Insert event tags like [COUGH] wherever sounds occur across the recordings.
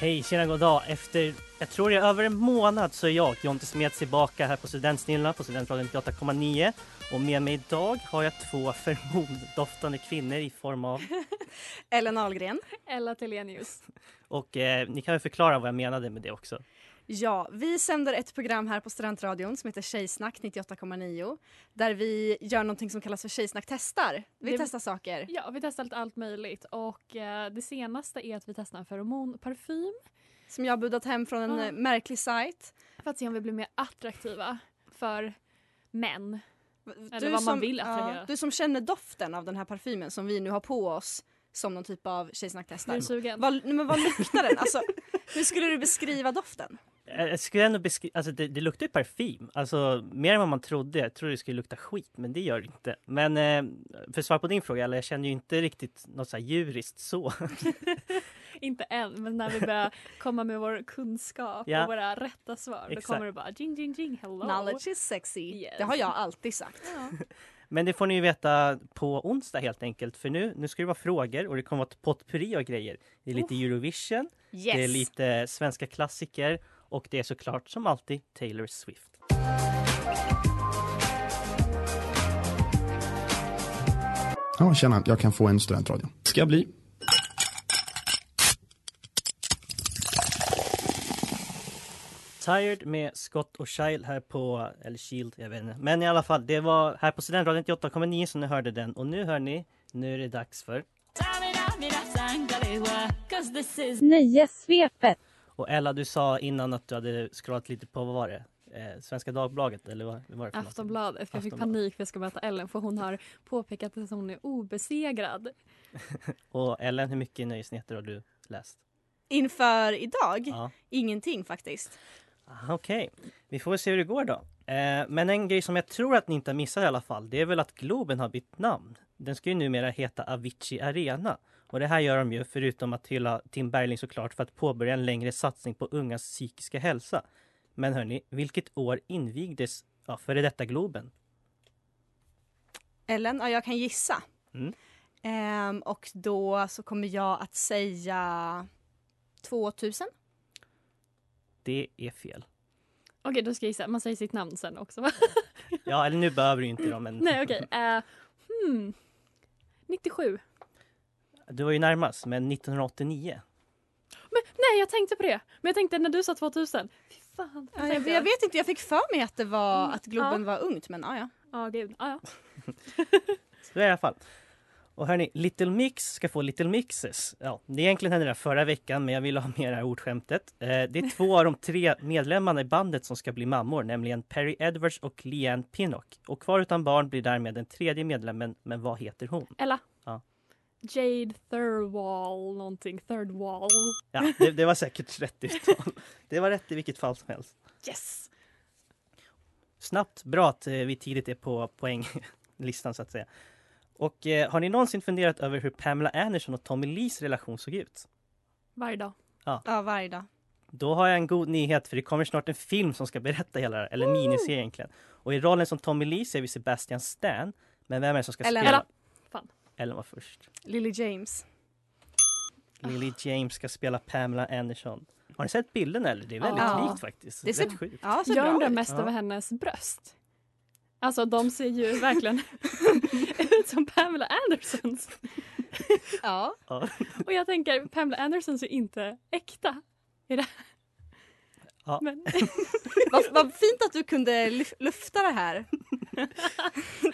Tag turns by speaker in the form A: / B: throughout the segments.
A: Hej, tjena, god dag. Efter, jag tror det är över en månad så är jag, Jonte Smed, tillbaka här på Studentsnillena på Studentradion 98,9. Och med mig idag har jag två [LAUGHS] förmoddoftande kvinnor i form av...
B: Ellen Ahlgren.
C: Ella Telenius.
A: Och eh, ni kan väl förklara vad jag menade med det också?
B: Ja, vi sänder ett program här på Studentradion som heter Tjejsnack 98,9 där vi gör någonting som kallas för Tjejsnack testar. Vi
C: Det-
B: testar saker.
C: Ja, vi testar lite allt möjligt och eh, det senaste är att vi testar en feromonparfym
B: Som jag har budat hem från en
C: Ja.
B: eh, märklig sajt.
C: för att se om vi blir mer attraktiva för män.
B: Eller
C: vad man vill attrahera.
B: du som känner doften av den här parfymen som vi nu har på oss som någon typ av Tjejsnack
C: Blir
B: testar.
C: du sugen?
B: Vad, nej, men vad luktar den?
C: [LAUGHS]
B: Alltså, hur skulle du beskriva doften?
A: Eh, Jag skulle ändå beskriva... Alltså det, det luktar ju parfym. Alltså mer än vad man trodde. Jag trodde det skulle lukta skit, men det gör det inte. Men eh, för att svara på din fråga, eller jag känner ju inte riktigt något så här djuriskt så.
C: Inte än, men när vi börjar komma med vår kunskap
A: Ja.
C: och våra rätta svar
A: Exakt.
C: då kommer det bara jing jing jing hello.
B: Knowledge is sexy.
C: Yes.
B: Det har jag alltid sagt.
C: Ja.
A: Men det får ni ju veta på onsdag helt enkelt. För nu, nu ska det vara frågor och det kommer vara ett potpurri av grejer. Det är lite Eurovision. Det är
B: Yes!
A: lite svenska klassiker och det är såklart som alltid Taylor Swift.
D: Ja, tjena, jag kan få en studentradio. Ska jag bli.
A: Tired med Scott och Child här på, eller Shield, jag vet inte. Men i alla fall, det var här på Studentradion 98,9 som ni hörde den. Och nu hör ni, nu är det dags för
E: Nöjessvepet.
A: Och Ella, du sa innan att du hade scrollat lite på, vad var det? Eh, Svenska Dagbladet eller vad, vad var det för något?
C: Aftonbladet, för jag fick
A: Aftonbladet.
C: panik för jag ska möta Ellen för hon har påpekat att hon är obesegrad.
A: Och Ellen, hur mycket nöjesnyheter har du läst?
B: Inför idag,
A: Ja.
B: ingenting faktiskt.
A: Aha, Okej, vi får väl se hur det går då. Eh, men en grej som jag tror att ni inte har missat i alla fall, det är väl att Globen har bytt namn. Den ska ju numera heta Avicii Arena. Och det här gör de ju, förutom att hylla Tim Bergling såklart, för att påbörja en längre satsning på ungas psykiska hälsa. Men hörni, vilket år invigdes ja, före detta Globen?
B: Ellen, ja, jag kan gissa.
A: Mm.
B: Ehm, och då så kommer jag att säga 2000.
A: Det är fel.
C: Okej, då ska jag gissa. Man säger sitt namn sen också va?
A: Ja, eller nu behöver du ju inte dem, men
C: [LAUGHS] Nej okej. Eh, hmm. 97.
A: du var ju närmast. Men 1989?
C: Men, nej, jag tänkte på det. Men jag tänkte när du sa 2000. Fy fan.
B: Ja, jag, jag vet inte, jag fick för mig att det var att Globen var ungt men ja, ja.
C: Ja, gud. Ja, ja.
A: Så är det i alla fall. Och hörni, Little Mix ska få Little Mixes. Ja, det egentligen hände det här förra veckan, men jag ville ha [LAUGHS] med det här ordskämtet. Eh, det är två av de tre medlemmarna i bandet som ska bli mammor, nämligen Perry Edwards och Leanne Pinnock. Och kvar utan barn blir därmed den tredje medlemmen, men vad heter hon?
C: Ella.
A: Ja.
C: Jade Thirlwall någonting. Thirdwall.
A: Ja, det, det var säkert [LAUGHS] rätt uttal. Det var rätt i vilket fall som helst.
C: Yes!
A: Snabbt, bra att eh, vi tidigt är på poänglistan så att säga. Och eh, har ni någonsin funderat över hur Pamela Anderson och Tommy Lees relation såg ut?
C: Varje dag.
B: ja varje dag.
A: Då har jag en god nyhet för det kommer snart en film som ska berätta hela det här, eller miniserie egentligen. Och i rollen som Tommy Lee ser vi Sebastian Stan. Men vem är det som ska
B: Ellen.
A: spela?
B: Ella.
C: Fan.
A: Ellen var först.
B: Lily James.
A: Lily James ska spela Pamela Anderson. Har ni sett bilden eller? Det är väldigt
B: Ja.
A: likt faktiskt.
B: Det ser-
A: Rätt sjukt.
B: Ja, så
C: jag
B: Alltså, bra.
C: undrar mest
A: Ja.
C: över hennes bröst. Alltså de ser ju
B: [LAUGHS]
C: verkligen [LAUGHS] ut som Pamela Andersons.
B: Ja.
A: Ja.
C: Och jag tänker Pamela Andersons är inte äkta.
A: Ja. [LAUGHS]
C: Men,
B: Vad, vad fint att du kunde lyf- lufta det här.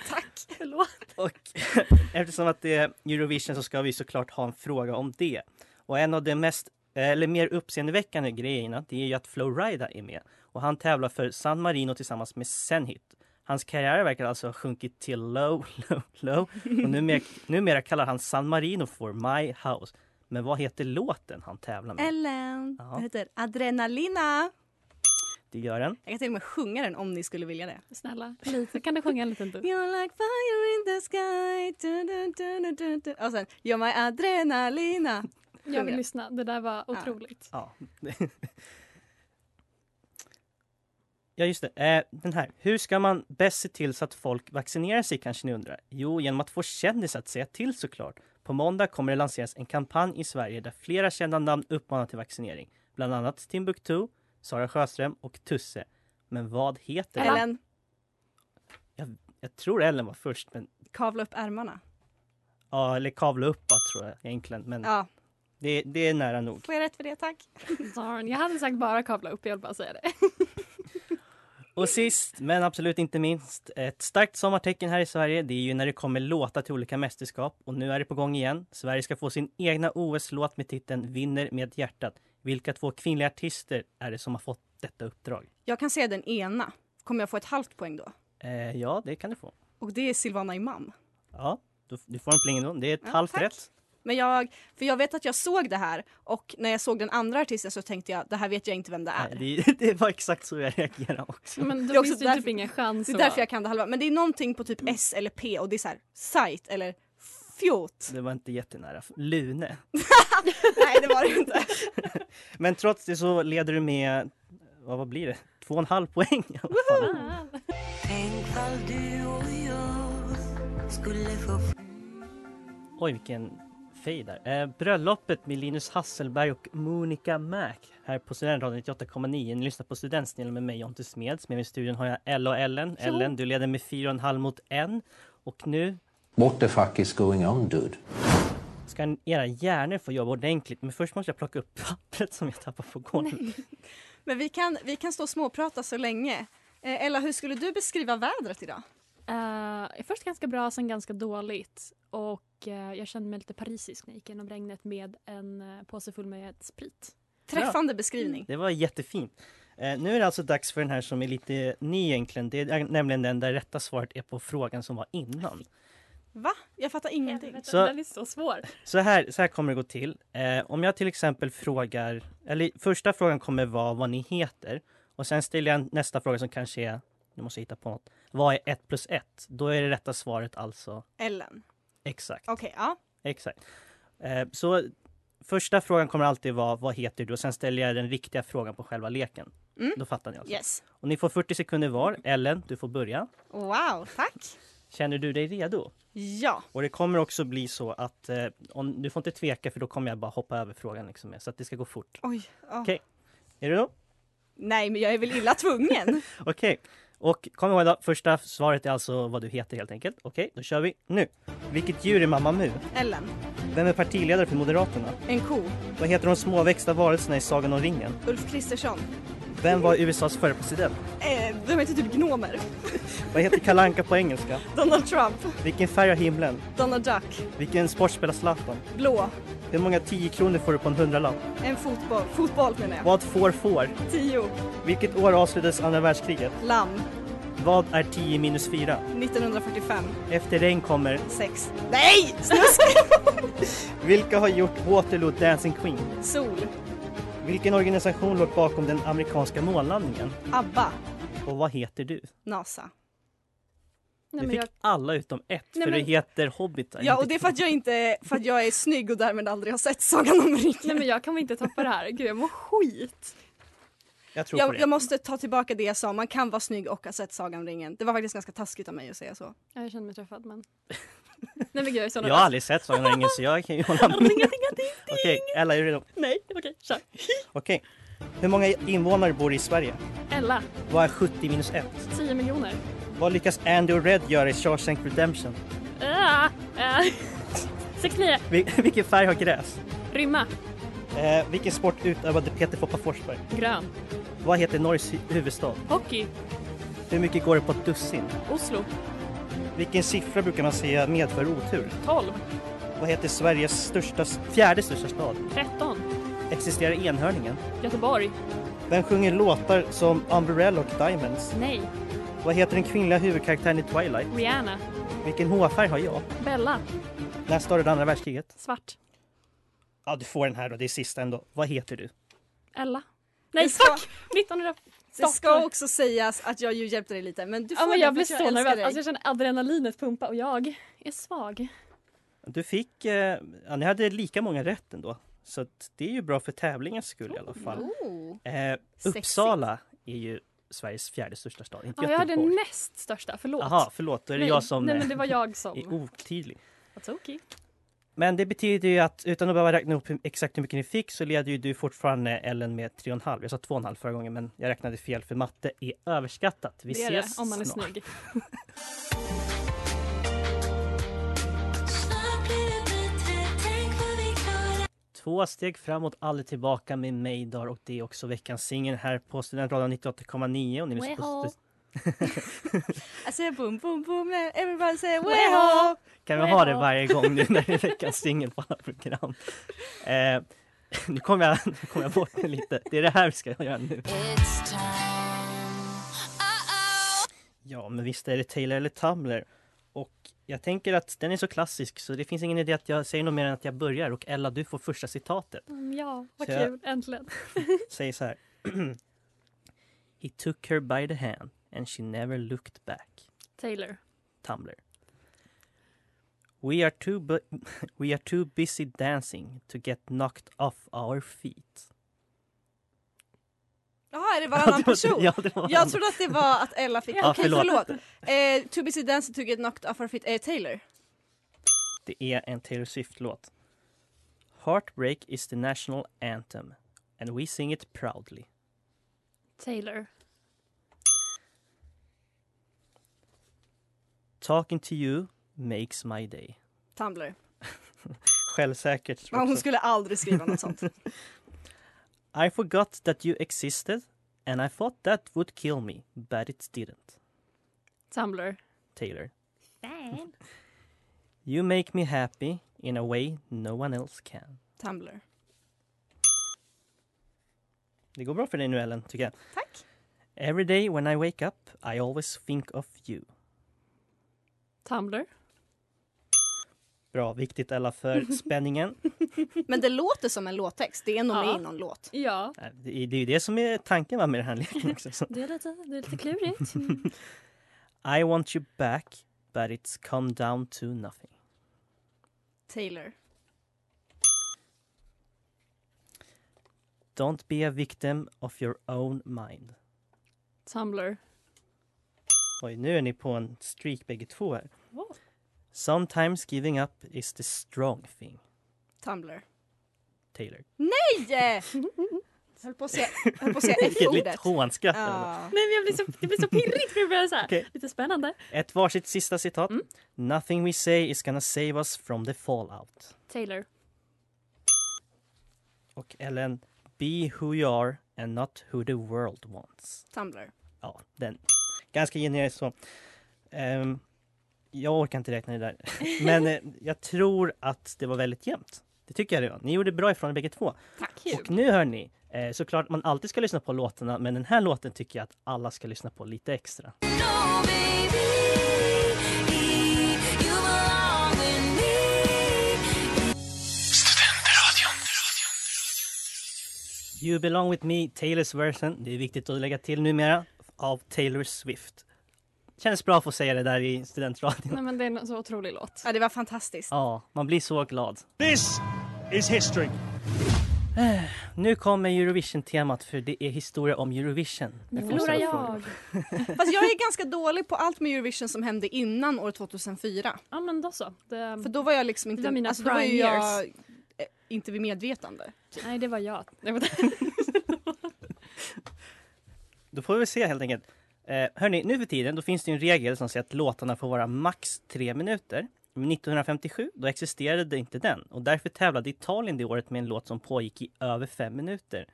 B: Tack.
C: förlåt.
A: Och [LAUGHS] eftersom att det är Eurovision så ska vi såklart ha en fråga om det. Och en av de mest, eller mer uppseendeväckande grejerna, det är ju att Flowrida är med. Och han tävlar för San Marino tillsammans med Senhit. Hans karriär verkar alltså ha sjunkit till low, [LAUGHS] low, low. Och numera, numera kallar han San Marino för My House. Men vad heter låten han tävlar med?
B: Ellen,
A: Ja.
B: den heter Adrenalina.
A: Det gör den.
B: Jag kan till och med sjunga den om ni skulle vilja det.
C: Snälla, lite. Kan du sjunga en liten du?
B: You're like fire in the sky. Du, du, du, du, du, du. Och sen, you're my adrenalina.
C: Jag vill lyssna. Det där var
B: Ja.
C: otroligt.
A: Ja. [LAUGHS] ja, just det. Eh, den här. Hur ska man bäst se till så att folk vaccinerar sig kanske ni undrar? Jo, genom att få kändisar att säga till såklart. På måndag kommer det lanseras en kampanj i Sverige där flera kända namn uppmanar till vaccinering. Bland annat Timbuktu, Sara Sjöström och Tusse. Men vad heter den?
B: Ellen,
A: Jag tror Ellen var först, men
B: kavla upp ärmarna.
A: ja, eller kavla upp va, tror jag egentligen. Men
B: Ja,
A: det, det är nära nog.
B: får jag rätt för det? Tack.
C: Darn, jag hade sagt bara kavla upp. Jag vill bara säga det.
A: Och sist men absolut inte minst, ett starkt sommartecken här i Sverige det är ju när det kommer låtar till olika mästerskap och nu är det på gång igen. Sverige ska få sin egna OS-låt med titeln Vinner med hjärtat. Vilka två kvinnliga artister är det som har fått detta uppdrag?
B: Jag kan säga den ena. Kommer jag få ett halvt poäng då?
A: Eh, ja, det kan du få.
B: Och det är Silvana Imam.
A: Ja, du, du får en pling ändå. Det är ett
B: Ja,
A: halvt
B: tack.
A: rätt.
B: Men jag, för jag vet att jag såg det här och när jag såg den andra artisten så tänkte jag det här vet jag inte vem det är.
A: Nej, Eh, det, [LAUGHS] det var exakt så jag reagerade också.
C: Men
B: Det är
C: då
B: också
C: finns det ju
B: därför-
C: typ ingen chans.
B: Det är
C: att-
B: därför jag kan det halva. Men det är någonting på typ S eller P och det är så här sajt eller fjot.
A: Det var inte jättenära. Lune.
B: [LAUGHS] Nej det var det inte.
A: Men trots det så leder du med, vad, vad blir det? Två och en halv poäng [LAUGHS] i alla fall.
C: Ah.
A: Oj, vilken fej där. Eh, bröllopet med Linus Hasselberg och Monica Mac här på Studentradion 98,9. Ni lyssnar på Studentsnillen med mig, Jonte Smeds. Med mig i studion har jag Ella och Ellen. Ellen, du leder med 4,5 mot 1. Och nu
E: What the fuck is going on, dude?
A: ska era hjärnor få jobba ordentligt. Men först måste jag plocka upp pappret som jag tappade på golvet.
B: Men vi kan, vi kan stå och småprata så länge. Eh, Ella hur skulle du beskriva vädret idag?
C: Eh, först ganska bra, sen ganska dåligt. Och eh, jag kände mig lite parisisk när jag gick genom regnet med en eh, påse full med sprit.
B: Träffande beskrivning.
A: Det var jättefint. Eh, nu är det alltså dags för den här som är lite ny egentligen. Det är nämligen den där rätta svaret är på frågan som var innan.
B: Va? Jag fattar
C: Mm.
B: ingenting.
C: Helvete,
A: Så-
C: Den är så svår.
A: Så här, så här kommer det gå till. Eh, om jag till exempel frågar, eller första frågan kommer vara vad ni heter och sen ställer jag en- nästa fråga som kanske är, nu måste jag hitta på något, vad är 1 plus 1? Då är det rätta svaret alltså
B: Ellen.
A: exakt.
B: Okej ja.
A: Exakt. Eh, så första frågan kommer alltid vara vad heter du och sen ställer jag den riktiga frågan på själva leken.
B: Mm.
A: Då fattar ni alltså.
B: Yes.
A: Och ni får 40 sekunder var. Ellen, du får börja.
B: Wow tack.
A: Känner du dig redo?
B: Ja.
A: Och det kommer också bli så att eh, om, du får inte tveka för då kommer jag bara hoppa över frågan liksom, med, så att det ska gå fort.
B: Oj. ja.
A: Okej. Är du redo?
B: Nej men jag är väl illa tvungen. [LAUGHS]
A: Okej. Och kom ihåg då, första svaret är alltså vad du heter helt enkelt. Okej, då kör vi nu. Vilket djur är Mamma Mu?
B: Ellen.
A: Vem är partiledare för Moderaterna?
B: En ko.
A: Vad heter de småväxta varelserna i Sagan om ringen?
B: Ulf Kristersson.
A: Vem var USAs förre president?
B: Eh, de heter typ gnomer.
A: Vad heter Kalle Anka på engelska?
B: Donald Trump.
A: Vilken färg har himlen?
B: Donald Duck.
A: Vilken sport spelar Zlatan?
B: Blå.
A: Hur många 10 kronor får du på en hundralapp?
B: En fotboll. Fotboll menar jag.
A: Vad får får?
B: Tio.
A: Vilket år avslutades andra världskriget?
B: Lamm.
A: Vad är 10 minus 4?
B: 1945.
A: Efter regn kommer...
B: Sex. Nej! Snusk! [LAUGHS]
A: Vilka har gjort Waterloo Dancing Queen?
B: Sol.
A: Vilken organisation låg bakom den amerikanska månlandningen?
B: Abba.
A: Och vad heter du?
B: NASA.
C: Nej,
A: du
C: men
A: fick
C: jag,
A: alla utom ett,
C: Nej,
A: för
C: men-
A: du heter Hobbitar.
B: Ja, och det är för att jag inte... För att jag är snygg och därmed aldrig har sett Sagan om
C: nej
B: ringen.
C: men jag kommer inte tappa det här. Gud jag mår skit.
A: Jag tror på
B: Jag,
A: det.
B: jag måste ta tillbaka det jag sa. Man kan vara snygg och ha sett Sagan om ringen. Det var faktiskt ganska taskigt av mig att säga så.
C: Ja, jag känner mig träffad men. nej men gud jag är så
A: Jag har aldrig sett Sagan om ringen så jag kan ju hålla med.
C: [LAUGHS]
A: Okej, Ella är du redo?
C: Nej okej kör.
A: Okej. Hur många invånare bor i Sverige?
C: Ella,
A: Vad är 70 minus 1?
C: 10 miljoner.
A: Vad lyckas Andy och Red göra i Shawshank Redemption?
C: Ah, ah. 69.
A: Vil- [LAUGHS] vilken färg har gräs?
C: Rymma.
A: Eh, vilken sport utövade Peter Foppa Forsberg?
C: Grön.
A: Vad heter Norges hu- huvudstad?
C: Hockey,
A: Hur mycket går det på ett dussin?
C: Oslo,
A: Vilken siffra brukar man säga medför otur?
C: 12,
A: Vad heter Sveriges största, fjärde största stad?
C: 13,
A: Existerar enhörningen?
C: Göteborg,
A: Vem sjunger låtar som Umbrella och Diamonds?
C: nej,
A: Vad heter den kvinnliga huvudkaraktären i Twilight?
C: Rihanna,
A: Vilken hårfärg har jag?
C: Bella,
A: När startade andra världskriget?
C: svart,
A: Ja, du får den här då. Det är sista ändå. Vad heter du?
C: Ella. Nej,
B: Det ska-
C: fuck! 1900...
B: Det ska
C: Stockholm.
B: också sägas att jag ju hjälpte dig lite men du får
C: Ja, men
B: den
C: jag
B: för
C: blir
B: att
C: så
B: älskar
C: nervös.
B: dig.
C: Alltså, jag känner adrenalinet pumpa och jag är svag.
A: Du fick... Eh, ja, ni hade lika många rätt ändå. Så att det är ju bra för tävlingens skull i alla fall.
B: oh.
A: Eh, Uppsala är ju Sveriges fjärde största stad, inte
C: Ja, jag hade
A: Göteborg.
C: näst största, förlåt.
A: Jaha, förlåt. Då är det
C: nej,
A: jag som
C: Nej,
A: eh,
C: men det var jag
A: är
C: som...
A: otydlig.
C: That's okay.
A: Men det betyder ju att utan att behöva räkna upp hur- exakt hur mycket ni fick så leder ju du fortfarande Ellen med 3,5. Jag sa 2,5 förra gången men jag räknade fel för matte är överskattat. Vi
C: det är
A: ses
C: det, om man är
A: snart.
C: snygg.
A: Två steg framåt, aldrig tillbaka med Maydar och det är också veckans singel här på Studentradion 98,9 och ni lyssnar på
C: Weho.
A: Stu-
B: I say boom boom boom now everybody say
C: Weho.
B: weho!
A: Kan vi ha det
C: Weho.
A: varje gång nu när det är veckans singel på alla program? Eh, nu kommer jag, nu kom jag bort mig lite. Det är det här vi ska göra nu. Ja, men visst är det Taylor eller Tumblr. Och jag tänker att den är så klassisk så det finns ingen idé att jag säger något mer än att jag börjar och Ella du får första citatet.
C: Mm, ja, vad
A: Så jag-
C: kul. Äntligen.
A: Säger så här. [CLEARS THROAT] He took her by the hand and she never looked back.
C: Taylor.
A: Tumblr. We are too bu- [LAUGHS] we are too busy dancing to get knocked off our feet.
B: Jaha, är det varannan person?
A: [LAUGHS] ja, det var
B: Jag trodde att det var att Ella fick...
A: Ja,
B: Okej,
A: förlåt.
B: förlåt. Eh, to busy dancing to get knocked off our feet. Eh, Taylor.
A: Det är en Taylor Swift-låt. Heartbreak is the national anthem and we sing it proudly.
C: Taylor.
A: Talking to you makes my day.
B: Tumblr.
A: Självsäkert. tror
B: Men
A: jag
B: hon
A: också.
B: skulle aldrig skriva något sånt.
A: I forgot that you existed and I thought that would kill me, but it didn't.
C: Tumblr.
A: Taylor. You make me happy in a way no one else can.
B: Tumblr.
A: Det går bra för dig nu Ellen, tycker jag.
B: Tack.
A: Every day when I wake up I always think of you.
C: Tumblr.
A: Bra, viktigt Ella för spänningen.
B: Men det låter som en låttext. Det är nog
C: Ja.
B: med i någon låt.
C: Ja.
A: Äh, Det är det är ju det som är tanken va, med den här leken också. Så.
C: Det är lite, det är lite klurigt.
A: [LAUGHS] I want you back but it's come down to nothing.
B: Taylor.
A: Don't be a victim of your own mind.
C: Tumblr.
A: Oj, nu är ni på en streak bägge två här. Sometimes giving up is the strong thing,
B: Tumblr.
A: Taylor.
B: Yeah. Höll på att säga, höll på att säga
A: [LAUGHS] Vilket litet
B: F-ordet.
A: hånskratt. Ellen.
B: Ja.
C: Nej, men jag blir så, det blir så pirrigt för jag börjar så här.
A: Okej.
C: Lite spännande.
A: Ett varsitt sista citat. Nothing we say is gonna save us from the fallout.
C: Taylor.
A: Och Ellen, be who you are and not who the world wants.
B: Tumblr.
A: Ja, den. Ganska generisk så. Ehm, jag orkar inte räkna det där. Men eh, jag tror att det var väldigt jämnt. Det tycker jag det var. Ni gjorde bra ifrån er bägge två.
C: Tack.
A: Och nu hör ni, eh, såklart man alltid ska lyssna på låtarna men den här låten tycker jag att alla ska lyssna på lite extra. You belong with me, Taylors version. Det är viktigt att lägga till numera, av Taylor Swift. Känns bra att få säga det där i studentradion.
C: Nej, men det är en så otrolig låt.
B: Ja, det var fantastiskt.
A: Ja, man blir så glad.
F: This is history.
A: Eh, Nu kommer Eurovision-temat för det är historia om Eurovision.
C: Nu
A: får
C: förlorar
A: ställa
C: jag.
A: frågor.
B: Fast jag är ganska dålig på allt med Eurovision som hände innan år 2004.
C: Ja, men då så. Det,
B: För då var jag liksom
C: Det
B: inte...
C: var mina
B: alltså, då var ju
C: prime
B: jag eh, inte vid medvetande.
C: nej, det var jag. Det var
A: Då får vi se helt enkelt. Eh, hörni, nu för tiden då finns det ju en regel som säger att låtarna får vara max tre minuter. Men 1957 då existerade det inte den och därför tävlade Italien det året med en låt som pågick i över fem minuter.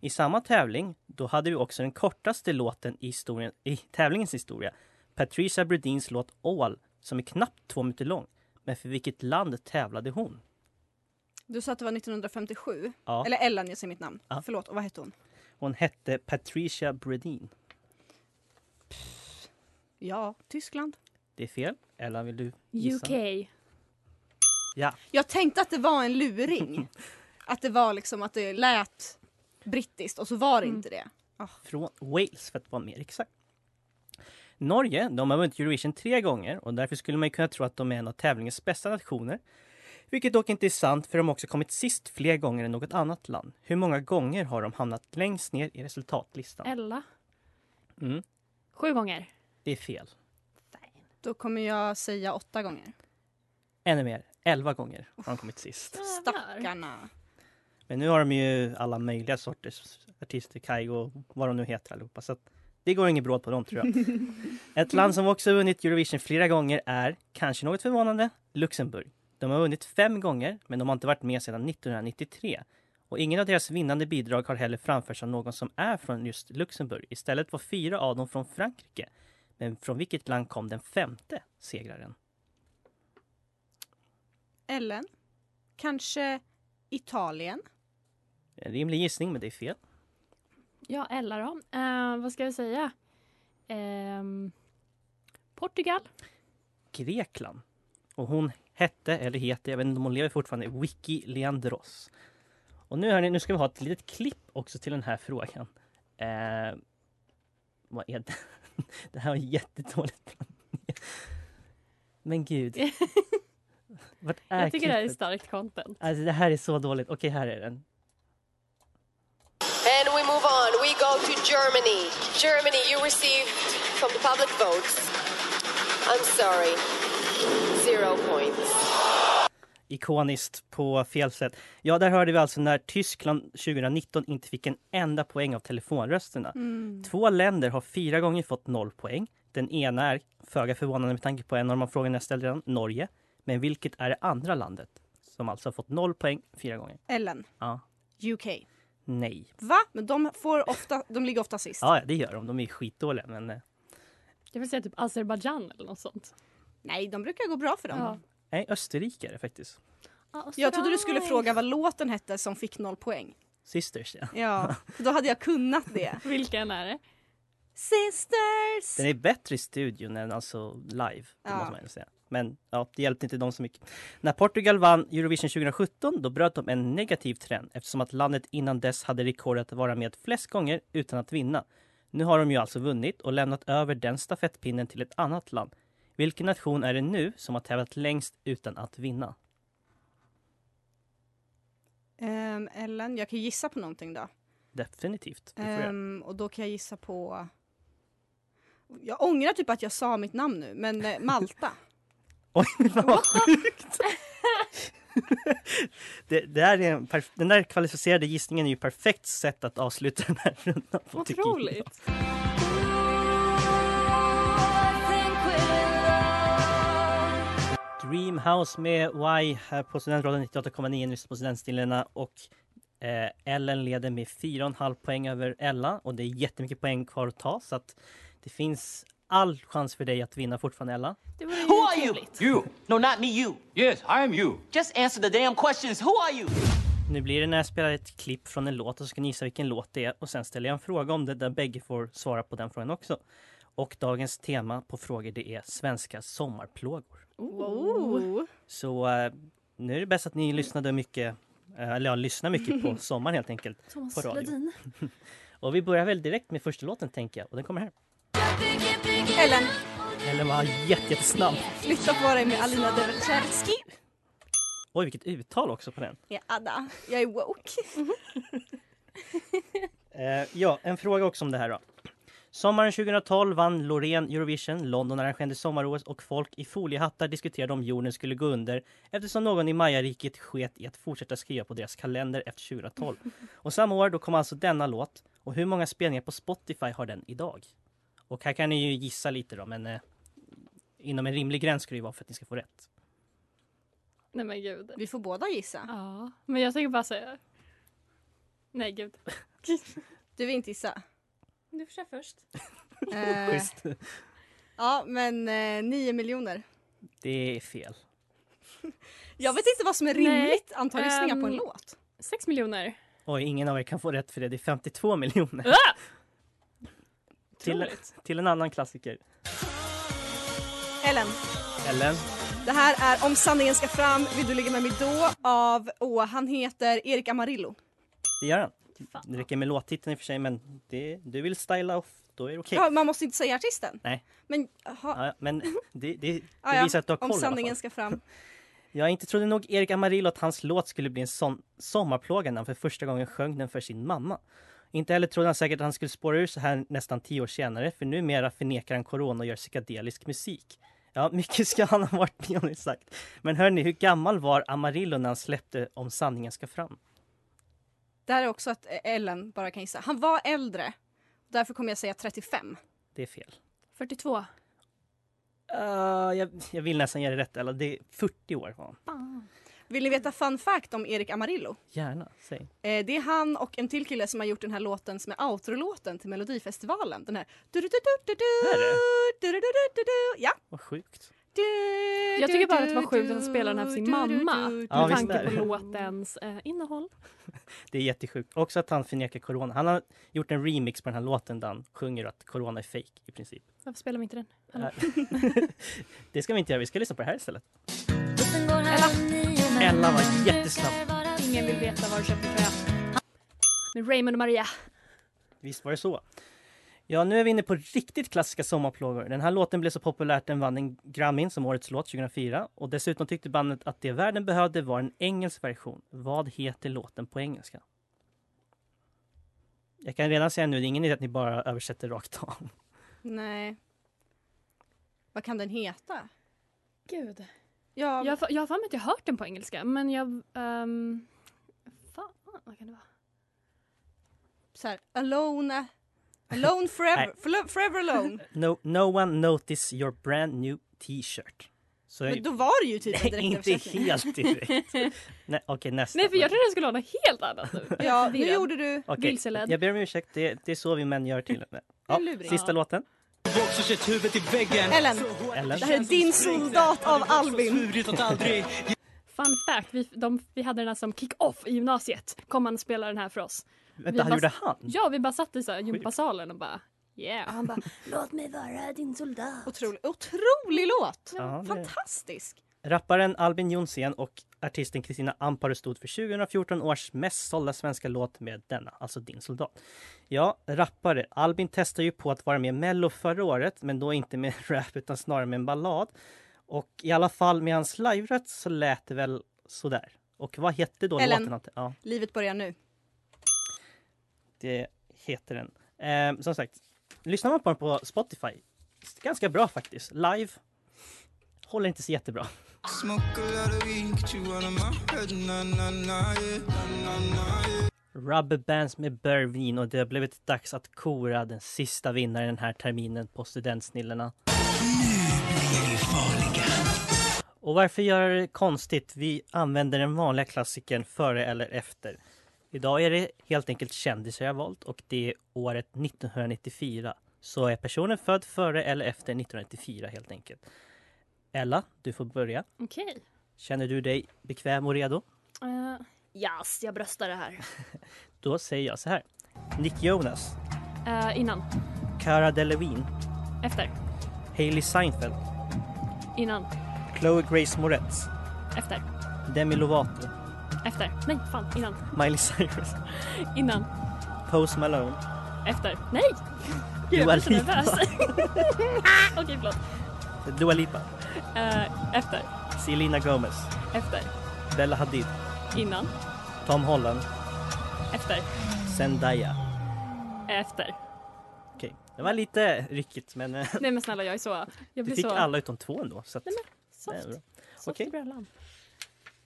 A: I samma tävling, då hade vi också den kortaste låten i, historien, i tävlingens historia. Patricia Bredins låt All, som är knappt två minuter lång. Men för vilket land tävlade hon?
B: Du sa att det var 1957.
A: Ja.
B: Eller Ellen, jag säger mitt namn.
A: Ja.
B: Förlåt, och vad hette hon?
A: Hon hette Patricia Bredin.
B: Ja, Tyskland.
A: Det är fel. Ella, vill du gissa?
C: UK.
A: Ja,
B: Jag tänkte att det var
A: [LAUGHS]
B: en luring. att det var liksom att det lät brittiskt och så var
C: Mm.
B: det inte det.
A: från Wales för att vara mer exakt. Norge, de har vunnit Eurovision tre gånger och därför skulle man ju kunna tro att de är en av tävlingens bästa nationer. Vilket dock inte är sant för de har också kommit sist fler gånger än något annat land. Hur många gånger har de hamnat längst ner i resultatlistan?
C: Ella.
A: Mm,
C: Sju gånger.
A: det är fel.
B: Då kommer jag säga åtta gånger.
A: Ännu mer, elva gånger har de kommit sist.
B: Stackarna.
A: Men nu har de ju alla möjliga sorters artister, Kaigo och vad de nu heter allihopa. Så att det går inget bråd på dem tror jag. Ett land som också vunnit Eurovision flera gånger är, kanske något förvånande, Luxemburg. De har vunnit fem gånger, men de har inte varit med sedan 1993. Och ingen av deras vinnande bidrag har heller framförts av någon som är från just Luxemburg. Istället var fyra av dem från Frankrike. Men från vilket land kom den femte segraren?
B: Ellen. Kanske Italien.
A: En rimlig gissning, men det är fel.
C: Ja, Ella då. Eh, vad ska jag säga? Ehm, Portugal.
A: Grekland. Och hon hette, eller heter, jag vet inte om hon lever fortfarande, Wiki Leandros. Och nu, hörni, nu ska vi ha ett litet klipp också till den här frågan. Eh, vad är det? [LAUGHS] Det här var jättedåligt planerat. Men
C: [LAUGHS]
A: gud. Vart
B: Äh,
A: är
C: Jag tycker det här är
A: klippet?
C: starkt content.
A: Alltså det här är så dåligt. Okej, här är den.
G: And we move on. We go to Germany. Germany, you received from the public votes. I'm sorry. Zero points.
A: Ikoniskt på fel sätt. Ja, där hörde vi alltså när Tyskland 2019 inte fick en enda poäng av telefonrösterna.
B: Mm.
A: Två länder har fyra gånger fått noll poäng. Den ena är, föga förvånande med tanke på en av de frågorna jag ställde redan, Norge. Men vilket är det andra landet som alltså har fått noll poäng fyra gånger?
B: Ellen.
A: Ja,
B: UK.
A: nej.
B: Va? Men de, får ofta, de ligger ofta sist.
A: Ja, ja, det gör de. De är skitdåliga, men eh,
C: Jag vill säga typ Azerbajdzjan eller något sånt.
B: Nej, de brukar gå bra för dem.
C: Ja.
A: nej, Österrike är det faktiskt.
B: Jag trodde du skulle
C: Azerbaj-
B: fråga vad låten hette som fick noll poäng.
A: Sisters, ja. [LAUGHS]
B: Ja, för då hade jag kunnat det.
C: Vilken är det?
B: Sisters!
A: Den är bättre i studion än alltså live, det
B: Ja.
A: måste man ändå säga. Men ja, det hjälpte inte dem så mycket. När Portugal vann Eurovision 2017, då bröt de en negativ trend eftersom att landet innan dess hade rekordet att vara med flest gånger utan att vinna. Nu har de ju alltså vunnit och lämnat över den stafettpinnen till ett annat land. Vilken nation är det nu som har tävlat längst utan att vinna?
B: Ehm, Ellen, jag kan ju gissa på någonting då.
A: Definitivt. Det får jag.
B: Ehm, och då kan jag gissa på... Jag ångrar typ att jag sa mitt namn nu, men eh, Malta.
A: Oj, [LAUGHS] vad sjukt! [LAUGHS] det, det här är en perf- den där kvalificerade gissningen är ju perfekt sätt att avsluta den här rundan på. tycker jag.
C: Otroligt.
A: Dreamhouse med Y här på Studentradion 98,9 nyss på Studentstilarna och eh, Ellen leder med 4,5 poäng över Ella och det är jättemycket poäng kvar att ta så att det finns all chans för dig att vinna fortfarande Ella.
C: Det vore ju trevligt.
H: You. No, not me, you. Yes, I am you. Just answer the damn questions. Who are you?
A: Nu blir det när jag spelar ett klipp från en låt och så ska ni gissa vilken låt det är och sen ställer jag en fråga om det där bägge får svara på den frågan också. Och dagens tema på frågor det är svenska sommarplågor.
B: Oh.
A: Så eh, nu är det bäst att ni lyssnade mycket, eh, eller ja, lyssnar mycket
C: [LAUGHS]
A: på sommaren helt enkelt. På
C: Thomas
A: radio.
C: Ledin.
A: [LAUGHS] Och vi börjar väl direkt med första låten tänker jag och den kommer här.
B: [LAUGHS] Ellen,
A: Eller var jätte, jättesnabb.
B: flytta på dig med Alina Devetjerski.
A: Oj vilket uttal också på den.
B: Jag är Ada. Jag är woke.
A: Eh, ja, en fråga också om det här då. Sommaren 2012 vann Loreen Eurovision, London arrangerade sommar-OS och folk i foliehattar diskuterade om jorden skulle gå under eftersom någon i Majariket sket i att fortsätta skriva på deras kalender efter 2012. Och samma år då kom alltså denna låt och hur många spelningar på Spotify har den idag? Och här kan ni ju gissa lite då men eh, inom en rimlig gräns ska det ju vara för att ni ska få rätt.
C: Nej men gud.
B: Vi får båda gissa.
C: Ja, men jag tänker bara säga... Nej gud.
B: sak. Du vill
A: [LAUGHS]
B: inte gissa?
C: Du får köra först.
B: Eh,
A: Schysst. [LAUGHS]
B: ja, men eh, 9 miljoner.
A: Det är fel.
B: Jag vet inte vad som är rimligt antal lyssningar
A: ehm,
B: på en låt.
C: 6 miljoner.
A: Oj, ingen av er kan få rätt för det. Det är 52 miljoner.
C: Ah!
A: Till, till en annan klassiker.
B: Ellen,
A: Ellen?
B: det här är Om sanningen ska fram vill du ligga med mig då av, åh, han heter Erik Amarillo.
A: Det gör han. Det räcker med låttiteln i och för sig, men det, du vill styla off, då är det okej.
B: Ja, man måste inte säga artisten.
A: Nej.
B: Men, aha.
A: Ja, ja, men det, det,
B: Ah,
A: det
B: ja.
A: visar att du har koll
B: Om
A: i alla fall.
B: sanningen ska fram.
A: Jag inte trodde nog Erik Amarillo att hans låt skulle bli en sån sommarplåga när han för första gången sjöng den för sin mamma. Inte heller trodde han säkert att han skulle spåra ur så här nästan tio år senare, för numera förnekar han corona och gör psykedelisk musik. Ja, mycket ska han ha varit med om exakt. Men hörni, hur gammal var Amarillo när han släppte Om sanningen ska fram?
B: Det här är också att eh, Ellen bara kan gissa. Han var äldre. Därför kommer jag säga 35.
A: Det är fel.
C: 42.
A: Ah, jag, jag vill nästan ge dig rätt, eller det är 40 år var han.
B: Vill ni veta fun fact om Erik Amarillo?
A: Gärna, säg.
B: Eh, det är han och en till kille som har gjort den här låten som är outro-låten till Melodifestivalen. Den här... du-du-du-du-du-du,
A: Är det?
B: du-du-du-du-du-du. Ja.
A: Vad sjukt.
B: Du,
C: Jag tycker bara att det var
B: du,
C: sjukt
B: du,
C: att han spelade den här för sin
B: du,
C: mamma.
B: du,
C: Med
A: Ja, visst är
C: tanke på
A: det.
C: låtens eh, innehåll.
A: Det är jättesjukt. Också att han förnekar corona. Han har gjort en remix på den här låten där han sjunger att corona är fake i princip.
C: Varför spelar vi inte den? Hallå.
A: Det ska vi inte göra, vi ska lyssna på det här istället.
C: Ella.
A: Ella var jättesnabb.
C: Ingen vill veta var du köpte tröjan. Med Raymond och Maria.
A: Visst var det så. Ja, nu är vi inne på riktigt klassiska sommarplågor. Den här låten blev så populär att den vann en Grammy som årets låt 2004 och dessutom tyckte bandet att det världen behövde var en engelsk version. Vad heter låten på engelska? Jag kan redan säga nu, det är ingen idé att ni bara översätter rakt av.
B: Nej. Vad kan den heta?
C: Gud.
B: Ja,
C: Jag har fa- jag har för mig att jag har hört den på engelska, men jag... ehm, fan, vad kan det vara?
B: så här, Alone... Alone
A: [LAUGHS]
B: forever,
A: Nej.
B: Flo- forever alone.
A: No, no one notice your brand new t-shirt. Så
B: Men då var det ju typ en
A: inte
B: direktöversättning.
A: helt direkt. Nej, okej, nästa.
C: Nej, för jag trodde den skulle ha något helt annat [LAUGHS] nu.
B: Ja, nu
C: Virren.
B: gjorde du...
A: Okej,
C: vilseledd.
A: Jag ber om ursäkt, det, det är så vi män gör
B: [LAUGHS]
A: till ja,
B: luring.
A: Sista
B: Ja.
A: låten.
I: Boxar sitt huvud i väggen.
B: Ellen.
A: Ellen.
B: Det här är din soldat av Albin.
I: Svurit åt aldrig.
C: Fun fact, vi, de, vi hade den här som kick-off i gymnasiet. Kom han och spelade den här för oss.
A: Mm.
C: Vi
A: Vänta, han
C: bara-
A: gjorde han?
C: Ja, vi bara satt i så här gympasalen och bara yeah. Och han bara låt mig vara din soldat.
B: Otrolig, otrolig låt!
A: Ja, det-
B: Fantastisk!
A: Rapparen Albin Jonsén och artisten Kristina Amparo stod för 2014 års mest sålda svenska låt med denna, alltså Din soldat. Ja, rappare. Albin testade ju på att vara med i Mello förra året, men då inte med [LAUGHS] rap utan snarare med en ballad. Och i alla fall med hans live så lät det väl sådär. Och vad hette då
B: Ellen.
A: låten? att- Ja,
B: Livet börjar nu.
A: det heter den. Ehm, som sagt, lyssnar man på den på Spotify, ganska bra faktiskt. Live håller inte så jättebra.
I: Smoke a lot of weed, get you out of my head. Na, na, na, yeah. Na, na, na, yeah.
A: Rubber Bands med Bervin och det har blivit dags att kora den sista vinnaren den här terminen på Studentsnillena. Och varför göra det konstigt? Vi använder den vanliga klassikern före eller efter. Idag är det helt enkelt kändisar jag valt och det är året 1994. Så är personen född före eller efter 1994 helt enkelt. Ella, du får börja.
C: Okej.
A: Känner du dig bekväm och redo?
C: Eh, yes, jag bröstar det här.
A: Då säger jag så här. Nick Jonas,
C: Eh, innan.
A: Cara Delevingne,
C: Efter.
A: Hailey Seinfeld,
C: Innan.
A: Chloe Grace Moretz,
C: Efter.
A: Demi Lovato,
C: Efter. Nej, fan. Innan.
A: Miley Cyrus, [LAUGHS]
C: Innan.
A: Post Malone,
C: Efter. Nej! Gud, jag
A: Dua
C: blir så
A: Lipa.
C: nervös. [LAUGHS] Okej,
A: [LAUGHS]
C: förlåt.
A: Dua Lipa,
C: Eh, efter.
A: Selena Gomez,
C: Efter.
A: Bella Hadid,
C: Innan.
A: Tom Holland,
C: Efter.
A: Zendaya.
C: Efter.
A: Okej, det var lite ryckigt men eh, [LAUGHS]
C: Nej men snälla jag är så... Jag
A: du
C: blir
A: fick
C: så...
A: alla utom två ändå. Så att,
C: Nej,
A: det är
C: Soft.
A: bra.
C: Soft i brallan.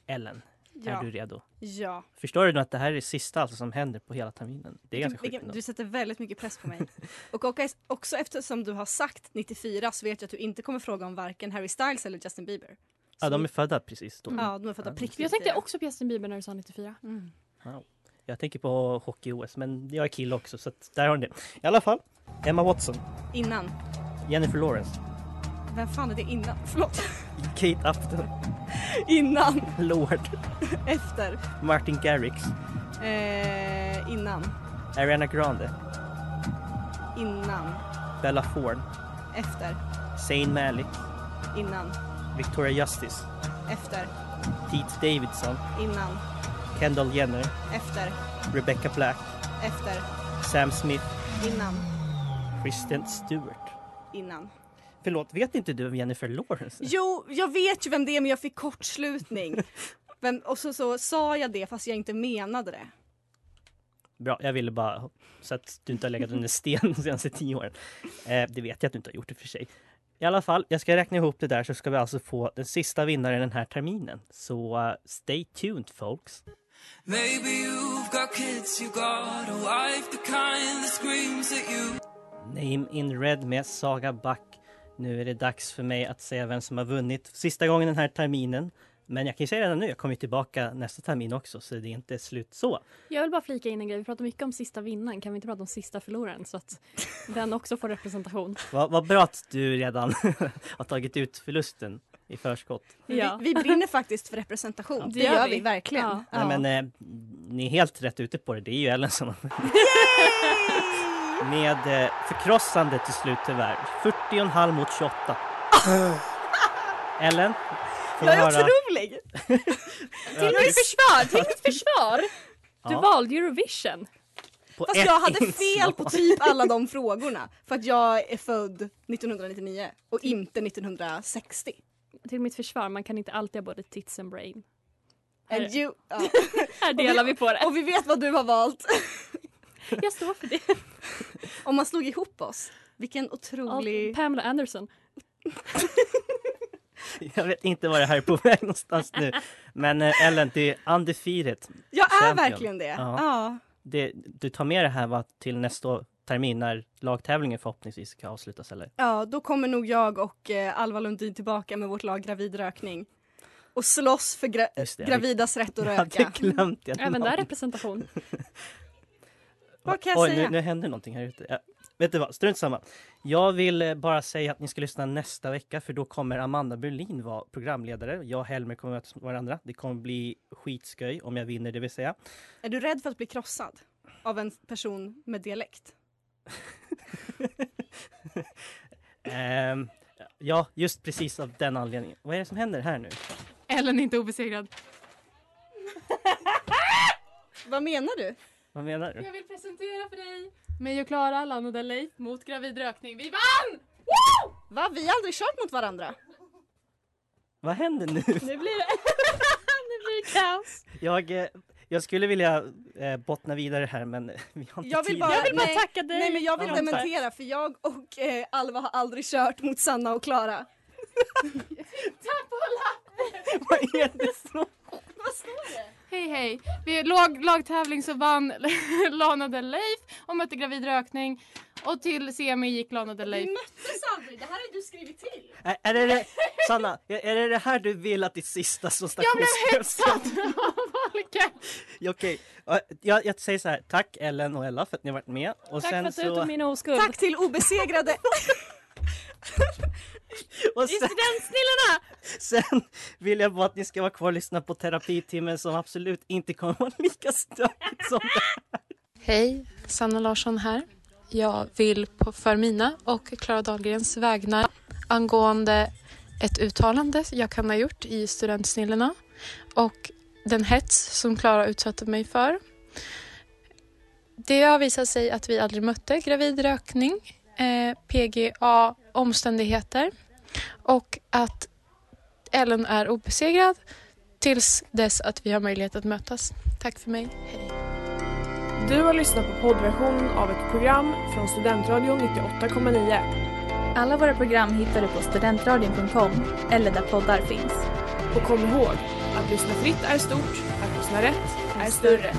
A: Ellen,
B: Ja.
A: är du redo?
B: Ja.
A: Förstår du nu att det här är det sista alltså, som händer på hela terminen? Det är ganska sjukt
B: Vilken-
A: ändå.
B: Du sätter väldigt mycket press
A: [LAUGHS]
B: på mig. Och också- också eftersom du har sagt 94 så vet jag att du inte kommer fråga om varken Harry Styles eller Justin Bieber.
A: Ja, de är födda precis då.
C: Mm.
B: Ja, de har fått
A: Mm. Ja.
B: prick
C: Jag tänkte också på Justin Bieber när du sa 94.
B: Mm.
A: Wow. Jag tänker på hockey-OS, men jag är kille också så att där har ni det. I alla fall, Emma Watson,
B: Innan.
A: Jennifer Lawrence,
B: Vem fan är det innan? [LAUGHS] Förlåt.
A: Kate Upton,
B: Innan.
A: Lord,
B: Efter.
A: Martin Garrix,
B: Eh, innan.
A: Ariana Grande,
B: Innan.
A: Bella Thorne,
B: Efter.
A: Zayn Malik,
B: Innan.
A: Victoria Justice,
B: Efter.
A: Pete Davidson,
B: Innan.
A: Kendall Jenner,
B: Efter.
A: Rebecca Black,
B: Efter.
A: Sam Smith,
B: Innan.
A: Kristen Stewart.
B: Innan.
A: Förlåt, vet inte du vem Jennifer Lawrence är?
B: Jo, jag vet ju vem det är men jag
A: [LAUGHS]
B: fick kortslutning. Vem, och så, så sa jag det fast jag inte menade det.
A: Bra, jag ville bara så att du inte har legat under sten de senaste tio åren. Eh, det vet jag att du inte har gjort i och för sig. I alla fall, jag ska räkna ihop det där så ska vi alltså få den sista vinnaren den här terminen. Så eh, stay tuned folks.
I: Maybe you've got kids, you got a wife, the kind that screams at you.
A: Name in Red med Saga Back. Nu är det dags för mig att säga vem som har vunnit sista gången den här terminen. Men jag kan ju säga redan nu, jag kommer ju tillbaka nästa termin också så det är inte slut så.
C: Jag vill bara flika in en grej. Vi pratar mycket om sista vinnaren. Kan vi inte prata om sista förloraren
A: [LAUGHS]
C: så att den också får representation?
A: Vad vad bra att du redan [LAUGHS] har tagit ut förlusten i förskott.
C: Ja.
B: Vi, vi brinner faktiskt för representation.
C: Ja,
B: det, gör vi, verkligen.
C: Ja.
B: Ja.
A: Nej, men eh, ni är helt rätt ute på det. Det är ju Ellen som har Med eh, förkrossande till slut tyvärr. 40,5 mot 28.
B: [LAUGHS]
A: Ellen? får
C: Jag är
A: höra-
C: otrolig!
A: Ja,
C: mitt försvar! Till mitt försvar! Du
A: Ja.
C: valde Eurovision.
A: på
B: Fast
A: ett
B: jag hade fel
A: inslag.
B: på typ alla de frågorna. För att jag är född 1999 och inte 1960.
C: Till mitt försvar, man kan inte alltid ha både tits and brain. Här,
B: And you, ja.
C: här delar
B: och vi,
C: vi på det.
B: Och vi vet vad du har valt.
C: Jag står för [LAUGHS] det.
B: Om man slog ihop oss. Vilken
C: Och
B: otrolig...
C: Pamela Anderson.
A: [LAUGHS] Jag vet inte var det här är på [LAUGHS] väg någonstans nu. Men eh, Ellen, det är undefeated.
B: Jag är
A: champion.
B: verkligen det.
A: Ja.
B: Ja.
A: det. Du tar med det här va, till nästa termin när lagtävlingen förhoppningsvis ska avslutas eller?
B: Ja, då kommer nog jag och eh, Alva Lundin tillbaka med vårt lag Gravid rökning. Och slåss för gra-
A: Just det, jag
B: gravidas rätt att
A: [LAUGHS] Jag
B: röka.
A: hade glömt det.
C: Även
A: [LAUGHS]
C: där representation.
B: Vad kan jag
A: Oj,
B: säga?
A: Nu, nu händer någonting här ute. Ja, vet du vad, strunt samma. Jag vill eh, bara säga att ni ska lyssna nästa vecka för då kommer Amanda Berlin vara programledare. Jag och Helmer kommer mötas med varandra. Det kommer bli skitsköj om jag vinner det vill säga.
B: Är du rädd för att bli krossad av en person med dialekt?
A: Ehm, ja, just precis av den anledningen. Vad är det som händer här nu?
J: [LAUGHS] Ellen är inte obesegrad.
B: Vad menar du?
A: Vad menar du?
J: Jag vill presentera för dig mig och Klara, Allan och Leif mot gravid rökning. Vi vann!
B: Va? Vi har aldrig kört mot varandra.
A: Vad händer nu? [LAUGHS]
J: Nu blir
C: [LAUGHS]
J: det, nu blir det kaos.
A: Jag, eh, jag skulle vilja eh, bottna vidare här men [LAUGHS] eh, vi har inte
B: Jag vill
A: tid.
B: bara, nej,
J: tacka dig.
B: Nej men jag vill
A: Ja, men tack.
B: dementera för jag och eh, Alva har aldrig kört mot Sanna och Klara.
J: Tack Paula!
A: [LAUGHS] Vad är det som...
J: Hej hej! Vid lag, lagtävling så vann [LAUGHS] Lana Del Leif och mötte gravid rökning. Och till semi gick Lana Del Leif.
B: möttes aldrig, det här har du skrivit till.
A: Är, är det, det Sanna, är, är det det här du vill att ditt sista som
J: Jag blev
A: stationschef ska
J: hetsad av Folke!
A: [LAUGHS] Ja, Okej, Ja, jag, jag säger så här. Tack Ellen och Ella för att ni har varit med. Och
C: Tack för att du
A: så,
C: tog min oskuld.
B: Tack till obesegrade.
A: [LAUGHS] och sen,
C: Studentsnillena!
A: [LAUGHS] sen vill jag bara att ni ska vara kvar och lyssna på terapitimmen som absolut inte kommer vara lika stökigt som det
K: Hej, Sanna Larsson här. Jag vill på, för mina och Klara Dahlgrens vägnar angående ett uttalande jag kan ha gjort i Studentsnillena och den hets som Klara utsatte mig för. Det har visat sig att vi aldrig mötte gravid rökning, eh, PGA, omständigheter och att Ellen är obesegrad tills dess att vi har möjlighet att mötas. Tack för mig. Hej.
L: Du har lyssnat på poddversionen av ett program från Studentradion 98,9.
M: Alla våra program hittar du på studentradion.com eller där poddar finns.
L: Och kom ihåg, att lyssna fritt är stort, att lyssna rätt är större.